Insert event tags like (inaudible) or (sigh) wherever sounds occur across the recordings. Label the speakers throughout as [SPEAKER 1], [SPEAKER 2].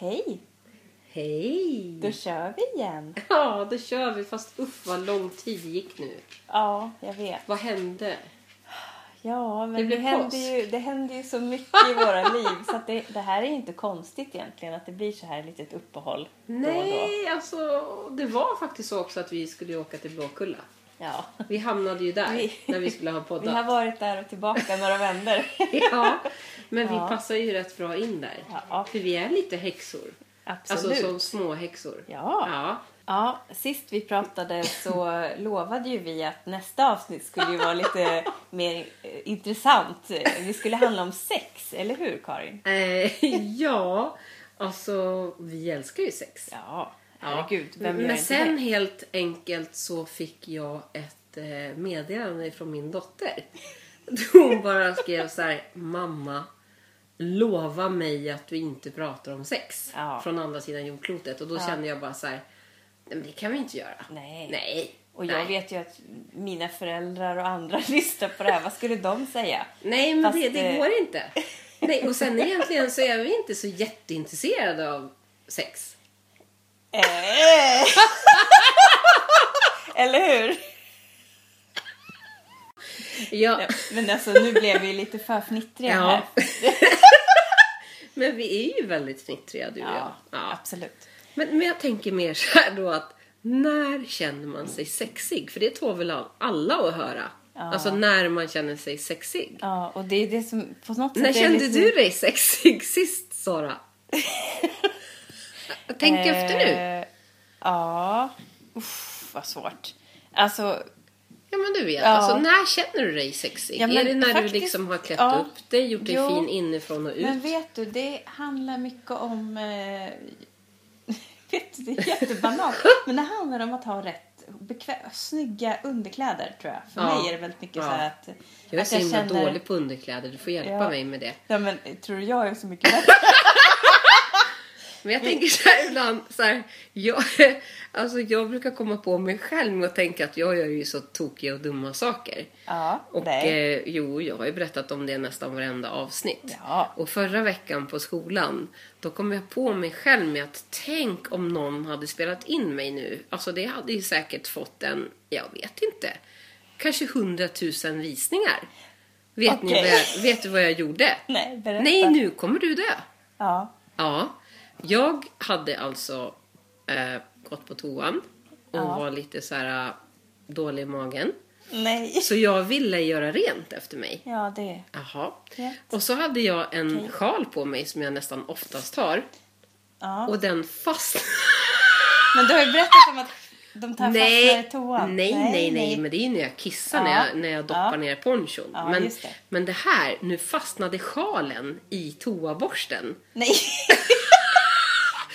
[SPEAKER 1] Hej!
[SPEAKER 2] Hej!
[SPEAKER 1] Då kör vi igen.
[SPEAKER 2] Ja, då kör vi. Fast uff vad lång tid det gick nu.
[SPEAKER 1] Ja, jag vet.
[SPEAKER 2] Vad hände?
[SPEAKER 1] Ja, men
[SPEAKER 2] Det
[SPEAKER 1] det,
[SPEAKER 2] blir
[SPEAKER 1] händer,
[SPEAKER 2] påsk.
[SPEAKER 1] ju, det händer ju så mycket i
[SPEAKER 2] (laughs)
[SPEAKER 1] våra liv så att det, det här är inte konstigt egentligen att det blir så här litet uppehåll då och då.
[SPEAKER 2] Nej, alltså det var faktiskt så också att vi skulle åka till Blåkulla.
[SPEAKER 1] Ja.
[SPEAKER 2] Vi hamnade ju där
[SPEAKER 1] Vi-
[SPEAKER 2] när (laughs) vi skulle ha
[SPEAKER 1] Vi har
[SPEAKER 2] poddat.
[SPEAKER 1] varit där och tillbaka några
[SPEAKER 2] (laughs)
[SPEAKER 1] vändor.
[SPEAKER 2] Ja, men vi
[SPEAKER 1] Ja.
[SPEAKER 2] passar ju rätt bra in där.
[SPEAKER 1] Ja,
[SPEAKER 2] För vi är lite häxor.
[SPEAKER 1] absolut.
[SPEAKER 2] Alltså som små häxor.
[SPEAKER 1] Ja.
[SPEAKER 2] ja.
[SPEAKER 1] Ja, sist vi pratade så lovade ju vi att nästa avsnitt skulle ju vara lite
[SPEAKER 2] (laughs)
[SPEAKER 1] mer eh, intressant. Det skulle handla om sex, eller hur Karin?
[SPEAKER 2] Eh, (laughs) ja, alltså vi älskar ju sex.
[SPEAKER 1] Ja,
[SPEAKER 2] Ja.
[SPEAKER 1] herregud. Vem gör
[SPEAKER 2] Men
[SPEAKER 1] inte
[SPEAKER 2] sen
[SPEAKER 1] det?
[SPEAKER 2] helt enkelt så fick jag ett eh, meddelande från min dotter. (laughs) Hon bara skrev så här, mamma, lova mig att du inte pratar om sex
[SPEAKER 1] Ja.
[SPEAKER 2] från andra sidan jordklotet. Och då kände jag bara så här, nej men det kan vi inte göra.
[SPEAKER 1] Nej.
[SPEAKER 2] Nej.
[SPEAKER 1] Och jag
[SPEAKER 2] nej.
[SPEAKER 1] vet ju att mina föräldrar och andra (laughs) lyssnar på det här. Vad skulle de säga?
[SPEAKER 2] Nej, men
[SPEAKER 1] Fast,
[SPEAKER 2] det, det
[SPEAKER 1] eh,
[SPEAKER 2] går
[SPEAKER 1] (laughs)
[SPEAKER 2] inte. Nej, och sen egentligen så är vi inte så jätteintresserade av sex. (laughs)
[SPEAKER 1] Eh. Eller hur?
[SPEAKER 2] Ja.
[SPEAKER 1] Ja, Men alltså nu blev vi lite för fnittriga här.
[SPEAKER 2] men vi är ju väldigt fnittriga du och jag. Ja.
[SPEAKER 1] absolut.
[SPEAKER 2] Men, men jag tänker mer så här då att när känner man sig sexig? För det tål väl av alla att höra? Alltså när man känner sig sexig.
[SPEAKER 1] Ja, och det är det som på något sätt
[SPEAKER 2] När
[SPEAKER 1] är liksom-
[SPEAKER 2] kände
[SPEAKER 1] lite-
[SPEAKER 2] du dig sexig (laughs)
[SPEAKER 1] (laughs)
[SPEAKER 2] sist Sara? Tänk efter nu.
[SPEAKER 1] Eh, Ja, uff vad svårt. Alltså,
[SPEAKER 2] Ja men du vet,
[SPEAKER 1] ja.
[SPEAKER 2] alltså när känner du dig sexig?
[SPEAKER 1] Ja,
[SPEAKER 2] är
[SPEAKER 1] men
[SPEAKER 2] det när du
[SPEAKER 1] faktiskt-
[SPEAKER 2] liksom har klätt
[SPEAKER 1] ja.
[SPEAKER 2] upp dig, gjort dig
[SPEAKER 1] Jo.
[SPEAKER 2] fin inifrån och ut?
[SPEAKER 1] men vet du, det handlar mycket om... Eh, (laughs) vet du, det är jättebanalt. men det handlar om att ha rätt bekvä- snygga underkläder tror jag. För
[SPEAKER 2] Ja.
[SPEAKER 1] mig är det väldigt mycket
[SPEAKER 2] Ja.
[SPEAKER 1] så här att...
[SPEAKER 2] jag är
[SPEAKER 1] att
[SPEAKER 2] så himla dålig på underkläder, du får hjälpa
[SPEAKER 1] Ja.
[SPEAKER 2] mig med det.
[SPEAKER 1] Ja, men tror du jag är så mycket bättre?
[SPEAKER 2] Men jag tänker så här ibland, så här, jag, (laughs) alltså jag brukar komma på mig själv med att tänka att jag gör ju så tokiga och dumma saker.
[SPEAKER 1] Ja,
[SPEAKER 2] (laughs) Och
[SPEAKER 1] nej.
[SPEAKER 2] eh, jo, jag har ju berättat om det nästan varenda avsnitt.
[SPEAKER 1] Ja.
[SPEAKER 2] Och förra veckan på skolan, då kom jag på mig själv med att tänk om någon hade spelat in mig nu. Alltså det hade ju säkert fått en, jag vet inte, kanske hundratusen visningar. Vet, ni
[SPEAKER 1] Okej.
[SPEAKER 2] vad jag, vet du vad jag gjorde?
[SPEAKER 1] Nej, berätta.
[SPEAKER 2] Nej, nu kommer du dö.
[SPEAKER 1] Ja,
[SPEAKER 2] Ja, jag hade alltså eh, gått på toan och
[SPEAKER 1] Ja.
[SPEAKER 2] var lite så här eh, dålig i magen.
[SPEAKER 1] nej.
[SPEAKER 2] Så jag ville göra rent efter mig.
[SPEAKER 1] Ja, det...
[SPEAKER 2] Jaha.
[SPEAKER 1] Rätt.
[SPEAKER 2] Och så hade jag en
[SPEAKER 1] Okej.
[SPEAKER 2] sjal på mig som jag nästan oftast har.
[SPEAKER 1] Ja.
[SPEAKER 2] Och den fastnade.
[SPEAKER 1] Men du har ju berättat om att de tar fastnar i
[SPEAKER 2] Nej, nej,
[SPEAKER 1] toan.
[SPEAKER 2] nej, nej, men det är ju när jag kissar, när,
[SPEAKER 1] Ja.
[SPEAKER 2] jag, när jag doppar
[SPEAKER 1] Ja.
[SPEAKER 2] ner ponchon.
[SPEAKER 1] Ja,
[SPEAKER 2] men,
[SPEAKER 1] just det.
[SPEAKER 2] men det här, nu fastnade sjalen i toaborsten. (laughs)
[SPEAKER 1] Nej. (laughs)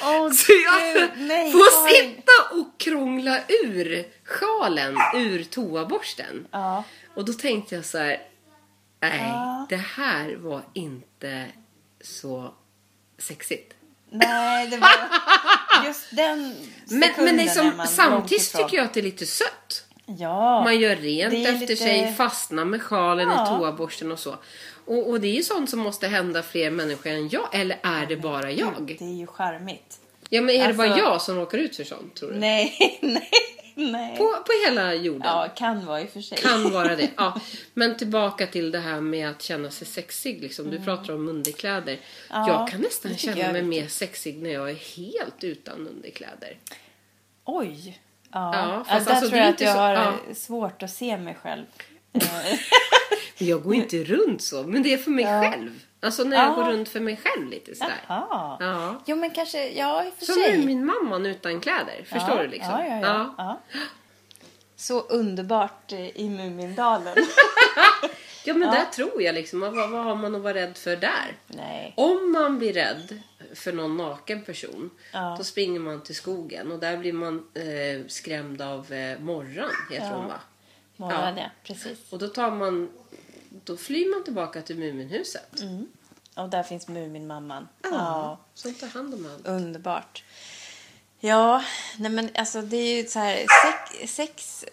[SPEAKER 1] Åh,
[SPEAKER 2] Så jag
[SPEAKER 1] Gud, nej,
[SPEAKER 2] får
[SPEAKER 1] Karin.
[SPEAKER 2] sitta och krångla ur sjalen ur toaborsten.
[SPEAKER 1] Ja.
[SPEAKER 2] Och då tänkte jag så här, nej,
[SPEAKER 1] Ja.
[SPEAKER 2] det här var inte så sexigt.
[SPEAKER 1] Nej, det var
[SPEAKER 2] (laughs)
[SPEAKER 1] just den
[SPEAKER 2] Men, men det är
[SPEAKER 1] sekunden är
[SPEAKER 2] som,
[SPEAKER 1] man
[SPEAKER 2] samtidigt tycker jag att det är lite sött.
[SPEAKER 1] jag... Ja.
[SPEAKER 2] Man gör rent
[SPEAKER 1] Det är
[SPEAKER 2] efter
[SPEAKER 1] lite-
[SPEAKER 2] sig, fastnar med sjalen
[SPEAKER 1] Ja.
[SPEAKER 2] i toaborsten och så. Och, och det är ju sånt som måste hända fler människor än jag, eller är det bara jag?
[SPEAKER 1] Det är ju charmigt.
[SPEAKER 2] Ja, men är det bara
[SPEAKER 1] Mm. Alltså-
[SPEAKER 2] jag som råkar ut för sånt, tror du?
[SPEAKER 1] Nej, (laughs) nej, nej.
[SPEAKER 2] På, på hela jorden.
[SPEAKER 1] Ja, kan vara i och för sig.
[SPEAKER 2] Kan vara det. Ja. Men tillbaka till det här med att känna sig sexig. Liksom. Du pratar om underkläder.
[SPEAKER 1] Mm. Ja,
[SPEAKER 2] jag kan
[SPEAKER 1] det
[SPEAKER 2] nästan
[SPEAKER 1] tycker
[SPEAKER 2] känna
[SPEAKER 1] jag
[SPEAKER 2] mig
[SPEAKER 1] är
[SPEAKER 2] mer sexig när jag är helt utan underkläder.
[SPEAKER 1] (laughs) Oj. Ja,
[SPEAKER 2] Ja,
[SPEAKER 1] ja,
[SPEAKER 2] fast
[SPEAKER 1] där
[SPEAKER 2] alltså,
[SPEAKER 1] tror
[SPEAKER 2] det är
[SPEAKER 1] jag att
[SPEAKER 2] inte
[SPEAKER 1] jag
[SPEAKER 2] så-
[SPEAKER 1] har eh,
[SPEAKER 2] ja.
[SPEAKER 1] svårt att se mig
[SPEAKER 2] (laughs)
[SPEAKER 1] själv. Eh,
[SPEAKER 2] Jag går inte runt så, men det är för mig själv. Alltså när jag
[SPEAKER 1] Mm. Ja.
[SPEAKER 2] går runt för mig själv lite sådär.
[SPEAKER 1] Jaha.
[SPEAKER 2] Ja.
[SPEAKER 1] Jo, men kanske, ja i och för
[SPEAKER 2] Som
[SPEAKER 1] sig.
[SPEAKER 2] nu min mamman utan kläder. Förstår
[SPEAKER 1] ja,
[SPEAKER 2] du liksom?
[SPEAKER 1] Ja, ja, ja. ja. Så underbart eh, i
[SPEAKER 2] (laughs)
[SPEAKER 1] Mumindalen.
[SPEAKER 2] Ja, men där tror jag liksom. Vad, vad har man att vara rädd för där?
[SPEAKER 1] nej.
[SPEAKER 2] Om man blir rädd för någon naken person,
[SPEAKER 1] Ja.
[SPEAKER 2] då springer man till skogen och där blir man eh, skrämd av eh, morran, heter
[SPEAKER 1] Ja.
[SPEAKER 2] hon va?
[SPEAKER 1] Morgon,
[SPEAKER 2] Ja.
[SPEAKER 1] ja. Precis.
[SPEAKER 2] Och då tar man, då flyr man tillbaka till Muminhuset.
[SPEAKER 1] Mm. Och där finns Muminmamman.
[SPEAKER 2] Ja. Som tar hand om allt.
[SPEAKER 1] Underbart. Ja, nej men alltså det är ju så här sex... sex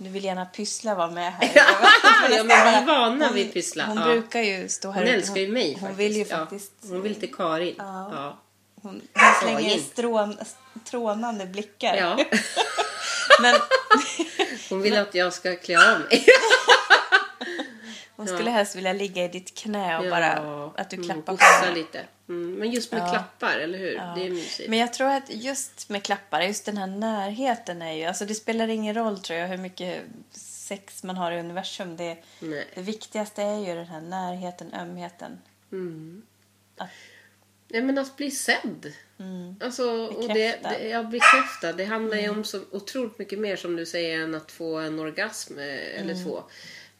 [SPEAKER 1] nu vill gärna Pyssla vara med här. (laughs)
[SPEAKER 2] Ja, men vi är vana
[SPEAKER 1] Hon-
[SPEAKER 2] vid Pyssla,
[SPEAKER 1] Hon
[SPEAKER 2] ja.
[SPEAKER 1] brukar ju stå här
[SPEAKER 2] Hon
[SPEAKER 1] ute.
[SPEAKER 2] älskar ju mig
[SPEAKER 1] Hon
[SPEAKER 2] faktiskt.
[SPEAKER 1] vill ju
[SPEAKER 2] Ja.
[SPEAKER 1] faktiskt...
[SPEAKER 2] Hon vill till Karin.
[SPEAKER 1] Ja.
[SPEAKER 2] Ja.
[SPEAKER 1] Hon, hon
[SPEAKER 2] Oj.
[SPEAKER 1] slänger strån, strånande blickar.
[SPEAKER 2] Ja, (laughs)
[SPEAKER 1] Men
[SPEAKER 2] hon vill att jag ska klä av mig.
[SPEAKER 1] hon skulle helst vilja ligga i ditt knä och bara att du klappar
[SPEAKER 2] mm,
[SPEAKER 1] på
[SPEAKER 2] gossa
[SPEAKER 1] henne.
[SPEAKER 2] lite. Mm, men just med
[SPEAKER 1] Ja.
[SPEAKER 2] klappar, eller hur?
[SPEAKER 1] Ja.
[SPEAKER 2] Det är mysigt.
[SPEAKER 1] Men jag tror att just med klappar, just den här närheten är ju... Alltså det spelar ingen roll tror jag hur mycket sex man har i universum. Det,
[SPEAKER 2] Nej.
[SPEAKER 1] det viktigaste är ju den här närheten, ömheten.
[SPEAKER 2] Mm.
[SPEAKER 1] Att-
[SPEAKER 2] Nej, men att bli sedd.
[SPEAKER 1] Mm.
[SPEAKER 2] Alltså, och det,
[SPEAKER 1] Bekräftad.
[SPEAKER 2] det, ja, bekräftad. Det handlar ju om så otroligt mycket mer som du säger än att få en orgasm eh,
[SPEAKER 1] Mm.
[SPEAKER 2] eller två.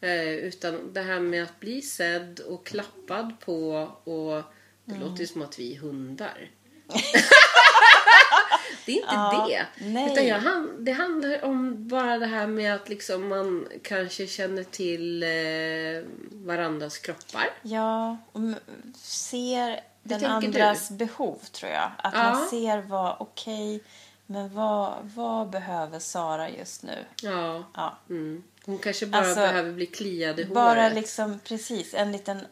[SPEAKER 2] Eh, utan det här med att bli sedd och klappad på och det
[SPEAKER 1] Mm.
[SPEAKER 2] låter ju som att vi
[SPEAKER 1] (laughs)
[SPEAKER 2] är hundar. det är inte
[SPEAKER 1] Ja,
[SPEAKER 2] det.
[SPEAKER 1] nej.
[SPEAKER 2] Utan jag, han- det handlar om bara det här med att liksom man kanske känner till eh, varandras kroppar.
[SPEAKER 1] Ja, och m- ser den
[SPEAKER 2] tänker
[SPEAKER 1] andras behov tror jag. Att
[SPEAKER 2] Ja.
[SPEAKER 1] man ser vad, okej, men vad, vad behöver Sara just nu?
[SPEAKER 2] Ja.
[SPEAKER 1] Ja.
[SPEAKER 2] Mm. Hon kanske bara
[SPEAKER 1] Alltså,
[SPEAKER 2] behöver bli kliad i
[SPEAKER 1] Bara
[SPEAKER 2] håret.
[SPEAKER 1] liksom, precis, en liten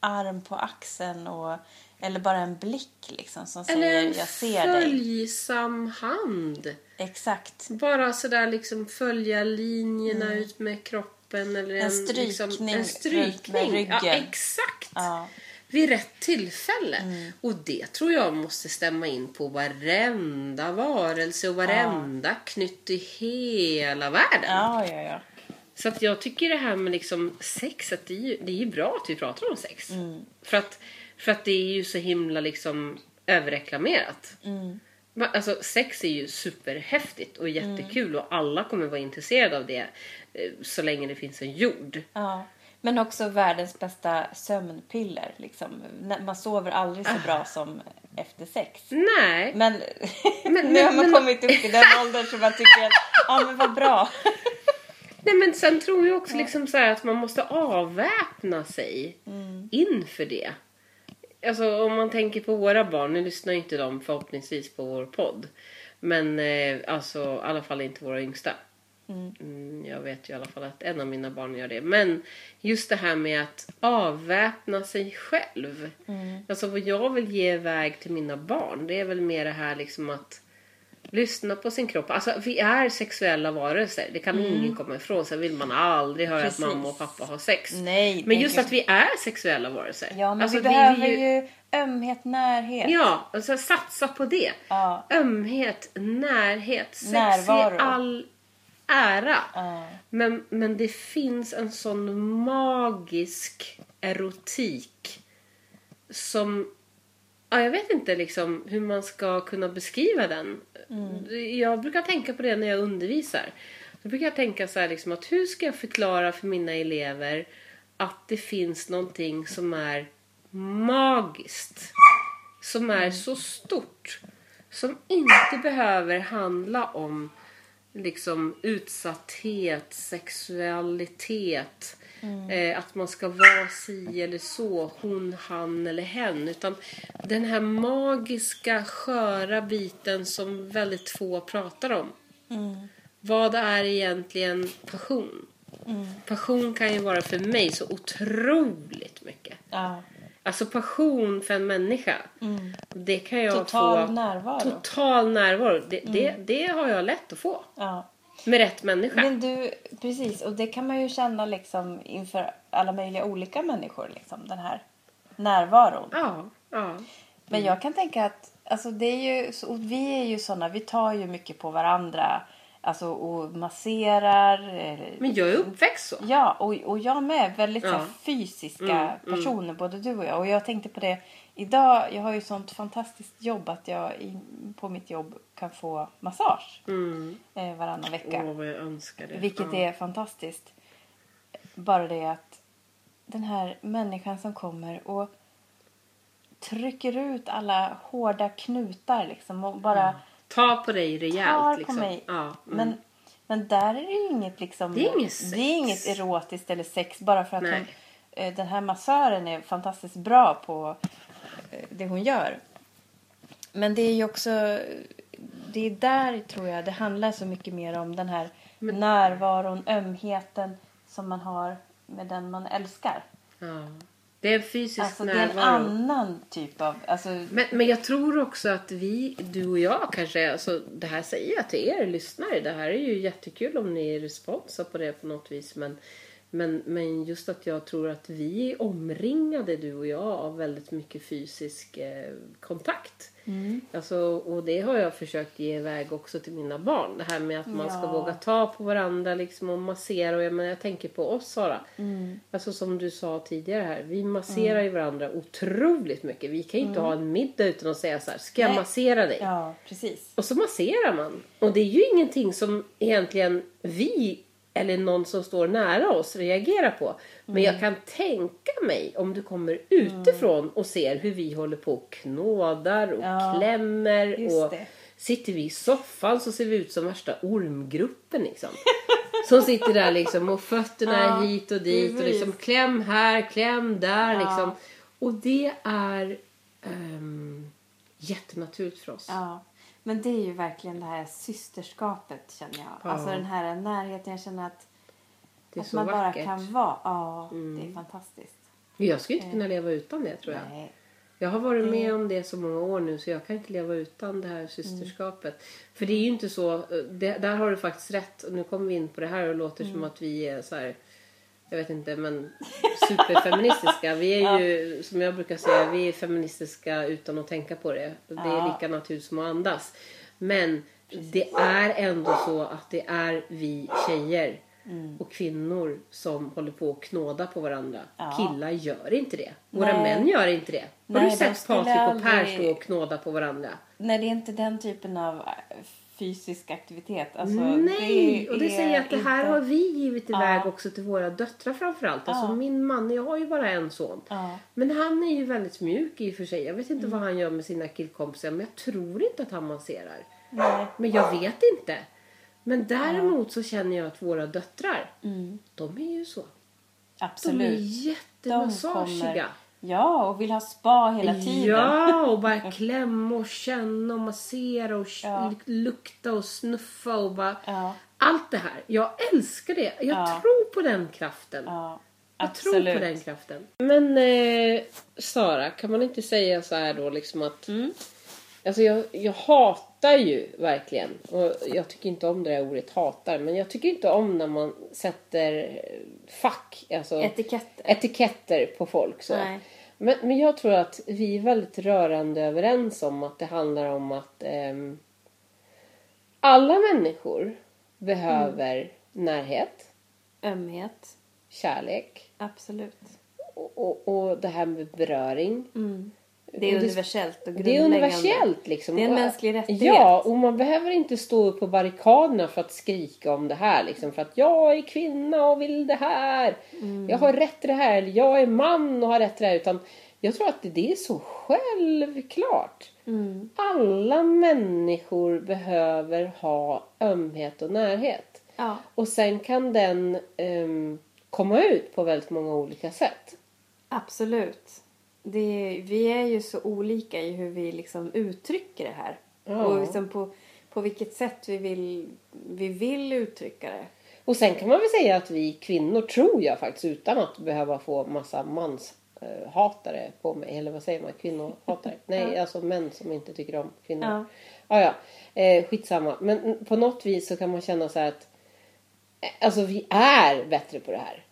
[SPEAKER 1] arm på axeln och, eller bara en blick liksom som
[SPEAKER 2] Eller en
[SPEAKER 1] säger jag ser dig.
[SPEAKER 2] följsam hand.
[SPEAKER 1] Exakt.
[SPEAKER 2] Bara sådär liksom följa linjerna ut med kroppen. Eller en,
[SPEAKER 1] Mm. En strykning
[SPEAKER 2] liksom, en
[SPEAKER 1] runt
[SPEAKER 2] strykning.
[SPEAKER 1] med ryggen.
[SPEAKER 2] Ja, exakt.
[SPEAKER 1] Ja. Mm.
[SPEAKER 2] Vid rätt tillfälle. Och det tror jag måste stämma in på varenda varelse och varenda knytt i hela världen.
[SPEAKER 1] Ja, ja, ja.
[SPEAKER 2] Så att jag tycker det här med liksom sex, att det, är ju, det är ju bra att vi pratar om sex. För, att, för att det är ju så himla liksom överreklamerat. Va- Alltså sex är ju superhäftigt och jättekul och alla kommer vara intresserade av det eh, så länge det finns en jord.
[SPEAKER 1] ja. Men också världens bästa sömnpiller. Liksom. När- Man sover aldrig så bra som efter sex.
[SPEAKER 2] Nej,
[SPEAKER 1] Men
[SPEAKER 2] Men-
[SPEAKER 1] (laughs) nu har man
[SPEAKER 2] men-
[SPEAKER 1] kommit upp i den åldern som man tycker att ja, men vad bra.
[SPEAKER 2] Nej men sen tror jag också liksom så här att man måste avväpna sig inför det. Alltså om man tänker på våra barn, nu lyssnar ju inte de förhoppningsvis på vår podd. Men eh, alltså i alla fall inte våra yngsta. Mm, jag vet ju i alla fall att en av mina barn gör det. Men just det här med att avväpna sig själv.
[SPEAKER 1] Mm.
[SPEAKER 2] Alltså vad jag vill ge iväg till mina barn, det är väl mer det här liksom att Lyssna på sin kropp. Alltså, vi är sexuella varelser. Det kan ingen komma ifrån. Sen vill man aldrig höra
[SPEAKER 1] Mm. Precis.
[SPEAKER 2] att mamma och pappa har sex.
[SPEAKER 1] Nej,
[SPEAKER 2] men
[SPEAKER 1] det-
[SPEAKER 2] just att vi är sexuella varelser.
[SPEAKER 1] Ja, men
[SPEAKER 2] Alltså,
[SPEAKER 1] vi
[SPEAKER 2] vill
[SPEAKER 1] behöver ju ömhet, närhet.
[SPEAKER 2] Ja, alltså, satsa på det.
[SPEAKER 1] Ja.
[SPEAKER 2] Ömhet, närhet, sex
[SPEAKER 1] Närvaro.
[SPEAKER 2] i all ära.
[SPEAKER 1] Ja.
[SPEAKER 2] Men, men det finns en sån magisk erotik som... Ja, jag vet inte liksom hur man ska kunna beskriva den.
[SPEAKER 1] Mm.
[SPEAKER 2] Jag brukar tänka på det när jag undervisar. Då brukar jag tänka så här liksom att hur ska jag förklara för mina elever att det finns någonting som är magiskt. Som är så stort. Som inte behöver handla om liksom utsatthet, sexualitet, eh, att man ska vara si eller så, hon, han eller hen. Utan den här magiska, sköra biten som väldigt få pratar om. Vad är egentligen passion? Passion kan ju vara för mig så otroligt mycket.
[SPEAKER 1] Ja.
[SPEAKER 2] Alltså passion för en människa. Det kan jag
[SPEAKER 1] Mm. Total
[SPEAKER 2] få.
[SPEAKER 1] närvaro.
[SPEAKER 2] Total närvaro. Det, det, det har jag lätt att få.
[SPEAKER 1] Ja.
[SPEAKER 2] Med rätt människa.
[SPEAKER 1] Men du, precis, och det kan man ju känna liksom inför alla möjliga olika människor, liksom, den här närvaron.
[SPEAKER 2] Ja, ja. Mm.
[SPEAKER 1] Men jag kan tänka att alltså, det är ju, så- och vi är ju sådana, vi tar ju mycket på varandra. Alltså, och masserar. eh,
[SPEAKER 2] Men jag är uppväxt så.
[SPEAKER 1] Ja, och, och jag med. Väldigt så här,
[SPEAKER 2] Ja. Mm,
[SPEAKER 1] fysiska personer, både du och jag. Och jag tänkte på det idag. Jag har ju sånt fantastiskt jobb att jag i, på mitt jobb kan få massage
[SPEAKER 2] Mm.
[SPEAKER 1] eh, varannan vecka.
[SPEAKER 2] Åh, vad jag önskar det.
[SPEAKER 1] Vilket
[SPEAKER 2] ja.
[SPEAKER 1] är fantastiskt. Bara det att den här människan som kommer och trycker ut alla hårda knutar liksom och bara
[SPEAKER 2] Mm. Ta på dig rejält.
[SPEAKER 1] tar på
[SPEAKER 2] liksom.
[SPEAKER 1] mig.
[SPEAKER 2] Ja, mm.
[SPEAKER 1] men, men där är det ju inget liksom...
[SPEAKER 2] Det är inget sex.
[SPEAKER 1] det är inget erotiskt eller sex bara för att
[SPEAKER 2] Nej.
[SPEAKER 1] hon, eh, den här massören är fantastiskt bra på eh, det hon gör. Men det är ju också... Det är där, tror jag, det handlar så mycket mer om den här närvaron, ömheten som man har med den man älskar.
[SPEAKER 2] ja. Det är en fysisk
[SPEAKER 1] Alltså, det är en
[SPEAKER 2] närvaro.
[SPEAKER 1] annan typ av... Alltså,
[SPEAKER 2] Men, men jag tror också att vi, du och jag kanske, alltså det här säger jag till er lyssnare, det här är ju jättekul om ni är responsa på det på något vis men, men, men just att jag tror att vi är omringade du och jag av väldigt mycket fysisk eh, kontakt. Alltså, och det har jag försökt ge iväg också till mina barn. Det här med att man ska
[SPEAKER 1] Ja.
[SPEAKER 2] våga ta på varandra liksom, och massera. Och jag, menar, jag tänker på oss Sara.
[SPEAKER 1] Mm.
[SPEAKER 2] Alltså som du sa tidigare här. Vi masserar ju varandra otroligt mycket. Vi kan ju inte ha en middag utan att säga så här. Ska jag
[SPEAKER 1] Mm. Nej.
[SPEAKER 2] massera dig?
[SPEAKER 1] ja, precis.
[SPEAKER 2] Och så masserar man. Och det är ju ingenting som egentligen vi eller någon som står nära oss reagerar på. Men jag kan tänka mig om du kommer utifrån och ser hur vi håller på och knådar och
[SPEAKER 1] Ja,
[SPEAKER 2] klämmer.
[SPEAKER 1] just
[SPEAKER 2] Och
[SPEAKER 1] det.
[SPEAKER 2] sitter vi i soffan så ser vi ut som värsta ormgruppen liksom. Som sitter där liksom och fötterna
[SPEAKER 1] Ja,
[SPEAKER 2] hit och dit och
[SPEAKER 1] precis.
[SPEAKER 2] liksom kläm här, kläm där
[SPEAKER 1] Ja.
[SPEAKER 2] liksom. Och det är ehm, jättenaturligt för oss.
[SPEAKER 1] Ja. Men det är ju verkligen det här systerskapet känner jag.
[SPEAKER 2] Ja.
[SPEAKER 1] Alltså den här närheten. Jag känner att,
[SPEAKER 2] Det är
[SPEAKER 1] att
[SPEAKER 2] så
[SPEAKER 1] man bara
[SPEAKER 2] vackert. Mm.
[SPEAKER 1] kan eh, vara. Ja, det är fantastiskt.
[SPEAKER 2] Jag skulle inte kunna leva utan det tror jag.
[SPEAKER 1] Nej.
[SPEAKER 2] Jag har varit
[SPEAKER 1] Mm.
[SPEAKER 2] med om det så många år nu så jag kan inte leva utan det här systerskapet.
[SPEAKER 1] Mm.
[SPEAKER 2] För det är ju inte så, eh, det, där har du faktiskt rätt. Och nu kommer vi in på det här och låter
[SPEAKER 1] Mm.
[SPEAKER 2] som att vi är så här, jag vet inte men superfeministiska. Vi är ju, som jag brukar säga, vi är feministiska utan att tänka på det. Det är
[SPEAKER 1] Ja.
[SPEAKER 2] lika naturligt som att andas. Men det är ändå så att det är vi tjejer
[SPEAKER 1] Mm.
[SPEAKER 2] och kvinnor som håller på att knåda på varandra.
[SPEAKER 1] Ja.
[SPEAKER 2] Killar gör inte det. Våra
[SPEAKER 1] Nej.
[SPEAKER 2] män gör inte det. Har
[SPEAKER 1] Nej,
[SPEAKER 2] du
[SPEAKER 1] de
[SPEAKER 2] sett
[SPEAKER 1] skulle
[SPEAKER 2] Patrik och Per
[SPEAKER 1] aldrig-
[SPEAKER 2] stå och knåda på varandra?
[SPEAKER 1] Nej, det är inte den typen av eh, fysisk aktivitet. Alltså,
[SPEAKER 2] Nej! och det
[SPEAKER 1] är
[SPEAKER 2] säger jag att det här
[SPEAKER 1] inte-
[SPEAKER 2] har vi givit
[SPEAKER 1] Ja.
[SPEAKER 2] iväg också till våra döttrar framförallt. Alltså
[SPEAKER 1] Ja.
[SPEAKER 2] min man, jag har ju bara en son.
[SPEAKER 1] Ja. Mm.
[SPEAKER 2] Men han är ju väldigt mjuk i och för sig. Jag vet inte vad han gör med sina killkompisar men jag tror inte att han masserar.
[SPEAKER 1] Nej.
[SPEAKER 2] Men jag vet inte. Men däremot så känner jag att våra döttrar, de är ju så. De är
[SPEAKER 1] Mm. Absolut.
[SPEAKER 2] jättemassagiga.
[SPEAKER 1] Ja, och vill ha spa hela tiden. (laughs)
[SPEAKER 2] Ja, och bara klämma och känna och massera och sh-
[SPEAKER 1] Ja.
[SPEAKER 2] lukta och snuffa och bara...
[SPEAKER 1] Ja.
[SPEAKER 2] Allt det här. Jag älskar det. Jag
[SPEAKER 1] Ja.
[SPEAKER 2] tror på den kraften.
[SPEAKER 1] Ja,
[SPEAKER 2] jag
[SPEAKER 1] absolut.
[SPEAKER 2] tror på den kraften. Men eh, Sara, kan man inte säga så här då liksom att...
[SPEAKER 1] Mm.
[SPEAKER 2] Alltså jag, jag hatar ju verkligen, och jag tycker inte om det där ordet hatar, men jag tycker inte om när man sätter eh, fack, alltså
[SPEAKER 1] Etiketter.
[SPEAKER 2] etiketter på folk. Så.
[SPEAKER 1] Nej.
[SPEAKER 2] Men, men jag tror att vi är väldigt rörande överens om att det handlar om att ehm, alla människor behöver närhet,
[SPEAKER 1] Ömhet.
[SPEAKER 2] kärlek
[SPEAKER 1] Absolut.
[SPEAKER 2] och, och, och det här med beröring.
[SPEAKER 1] Mm. Det är universellt och
[SPEAKER 2] Det är
[SPEAKER 1] grundläggande.
[SPEAKER 2] universellt liksom.
[SPEAKER 1] Det är en
[SPEAKER 2] Och-
[SPEAKER 1] mänsklig rättighet.
[SPEAKER 2] Ja, och man behöver inte stå upp på barrikaderna för att skrika om det här liksom. För att jag är kvinna och vill det här.
[SPEAKER 1] Mm.
[SPEAKER 2] Jag har rätt till det här. Eller jag är man och har rätt till det här. Utan jag tror att det- det är så självklart.
[SPEAKER 1] Mm.
[SPEAKER 2] Alla människor behöver ha ömhet och närhet.
[SPEAKER 1] Ja.
[SPEAKER 2] Och sen kan den ehm, komma ut på väldigt många olika sätt.
[SPEAKER 1] Absolut. Det är, vi är ju så olika i hur vi liksom uttrycker det här.
[SPEAKER 2] Ja.
[SPEAKER 1] Och liksom på, på vilket sätt vi vill, vi vill uttrycka det.
[SPEAKER 2] Och sen kan man väl säga att vi kvinnor tror jag faktiskt utan att behöva få massa manshatare på mig. Eller vad säger man?
[SPEAKER 1] (laughs)
[SPEAKER 2] Kvinnohatare? Nej, alltså män som inte tycker om kvinnor.
[SPEAKER 1] Ja.
[SPEAKER 2] Ja, ja. Eh, skitsamma. Men mm, på något vis så kan man känna så här att eh, alltså vi är bättre på det här.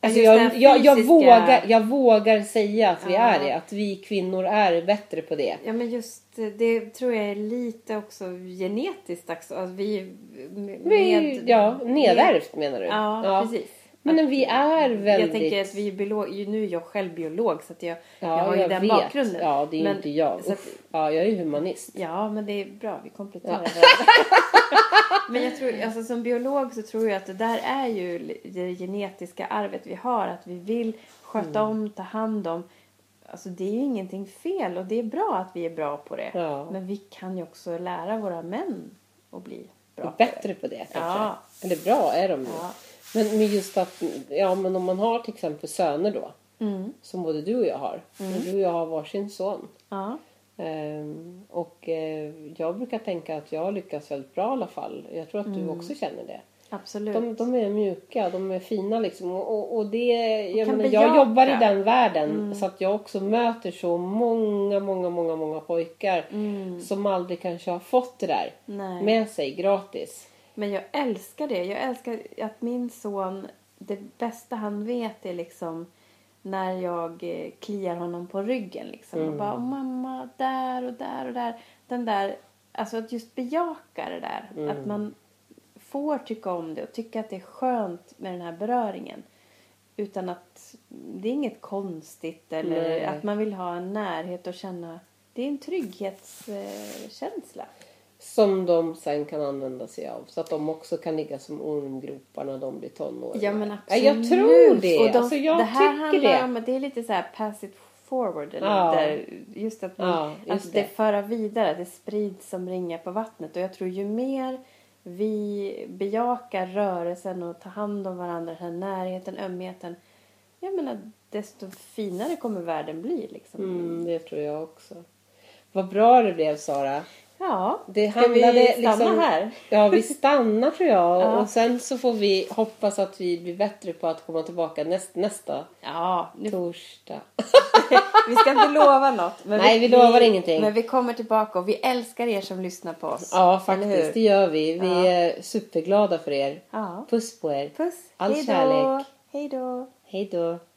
[SPEAKER 2] Alltså
[SPEAKER 1] Just
[SPEAKER 2] jag,
[SPEAKER 1] den
[SPEAKER 2] jag, jag,
[SPEAKER 1] fysiska-
[SPEAKER 2] vågar, jag vågar säga att vi
[SPEAKER 1] Ja.
[SPEAKER 2] är det. Att vi kvinnor är bättre på det.
[SPEAKER 1] Ja, men just eh, det tror jag är lite också genetiskt också. Att vi med,
[SPEAKER 2] Vi, ja, nedärvt menar du?
[SPEAKER 1] Ja, precis.
[SPEAKER 2] Men vi är väldigt...
[SPEAKER 1] Jag tänker att vi är biolog, ju nu är jag själv biolog så att jag,
[SPEAKER 2] Ja,
[SPEAKER 1] jag har ju den
[SPEAKER 2] vet.
[SPEAKER 1] bakgrunden.
[SPEAKER 2] Ja, det är ju
[SPEAKER 1] Men-
[SPEAKER 2] inte jag.
[SPEAKER 1] Så att,
[SPEAKER 2] Uff. Ja, jag är ju humanist.
[SPEAKER 1] ja, men det är bra, vi kompletterar varandra. (laughs) Men jag tror, alltså, som biolog så tror jag att det där är ju li- det genetiska arvet vi har. Att vi vill sköta
[SPEAKER 2] Mm.
[SPEAKER 1] om, ta hand om. Alltså det är ju ingenting fel och det är bra att vi är bra på det.
[SPEAKER 2] Ja.
[SPEAKER 1] Men vi kan ju också lära våra män att bli bra på det.
[SPEAKER 2] Bättre på det kanske.
[SPEAKER 1] Ja.
[SPEAKER 2] Eller bra är de ju.
[SPEAKER 1] Ja.
[SPEAKER 2] Men, men just att, ja men om man har till exempel söner då.
[SPEAKER 1] Mm.
[SPEAKER 2] Som både du och jag har. Du och jag har varsin son.
[SPEAKER 1] Ja.
[SPEAKER 2] Ehm,
[SPEAKER 1] Mm.
[SPEAKER 2] och eh, jag brukar tänka att jag lyckas väldigt bra i alla fall. Jag tror att du också känner det.
[SPEAKER 1] Absolut.
[SPEAKER 2] De, de är mjuka, de är fina liksom. Och, och, och det, jag,
[SPEAKER 1] kan
[SPEAKER 2] menar, jag
[SPEAKER 1] bejaka. Mm.
[SPEAKER 2] jobbar i den världen så att jag också möter så många, många, många, många pojkar som aldrig kanske har fått det där
[SPEAKER 1] Mm. Nej.
[SPEAKER 2] med sig gratis.
[SPEAKER 1] Men jag älskar det. Jag älskar att min son, det bästa han vet är liksom när jag eh, kliar honom på ryggen liksom. Och bara, "Åh, mamma, där och där och där. Den där, alltså att just bejaka det där. Att man får tycka om det och tycka att det är skönt med den här beröringen. Utan att det är inget konstigt eller
[SPEAKER 2] Nej.
[SPEAKER 1] att man vill ha en närhet och känna, det är en trygghetskänsla.
[SPEAKER 2] Som de sen kan använda sig av. Så att de också kan ligga som ormgropar när de blir tonåringar.
[SPEAKER 1] Ja men absolut.
[SPEAKER 2] Ja, jag tror det.
[SPEAKER 1] Och de,
[SPEAKER 2] alltså, jag
[SPEAKER 1] det här
[SPEAKER 2] tycker
[SPEAKER 1] handlar
[SPEAKER 2] det.
[SPEAKER 1] om, det är lite så här pass it forward. Eller
[SPEAKER 2] Ja.
[SPEAKER 1] där, just att, man,
[SPEAKER 2] Ja, just
[SPEAKER 1] att det.
[SPEAKER 2] det.
[SPEAKER 1] föra vidare, det sprids som ringar på vattnet. Och jag tror ju mer vi bejakar rörelsen och tar hand om varandra, den här närheten, ömheten. Jag menar, desto finare kommer världen bli liksom.
[SPEAKER 2] Mm, det tror jag också. Vad bra det blev Sara.
[SPEAKER 1] Ja,
[SPEAKER 2] Det
[SPEAKER 1] ska vi
[SPEAKER 2] handlade
[SPEAKER 1] stanna
[SPEAKER 2] liksom-
[SPEAKER 1] här?
[SPEAKER 2] (laughs) Ja, vi stannar tror (laughs) jag.
[SPEAKER 1] Ja.
[SPEAKER 2] Och sen så får vi hoppas att vi blir bättre på att komma tillbaka näst, nästa
[SPEAKER 1] Ja, nu
[SPEAKER 2] torsdag.
[SPEAKER 1] Vi ska inte lova något. Men
[SPEAKER 2] (laughs) Nej, vi lovar ingenting.
[SPEAKER 1] Men vi kommer tillbaka och vi älskar er som lyssnar på oss.
[SPEAKER 2] Ja,
[SPEAKER 1] Eller hur?
[SPEAKER 2] faktiskt. Det gör vi. Vi
[SPEAKER 1] Ja.
[SPEAKER 2] är superglada för er.
[SPEAKER 1] Ja.
[SPEAKER 2] Puss på er.
[SPEAKER 1] Puss.
[SPEAKER 2] All
[SPEAKER 1] Hej då.
[SPEAKER 2] kärlek.
[SPEAKER 1] Hej då.
[SPEAKER 2] Hej då.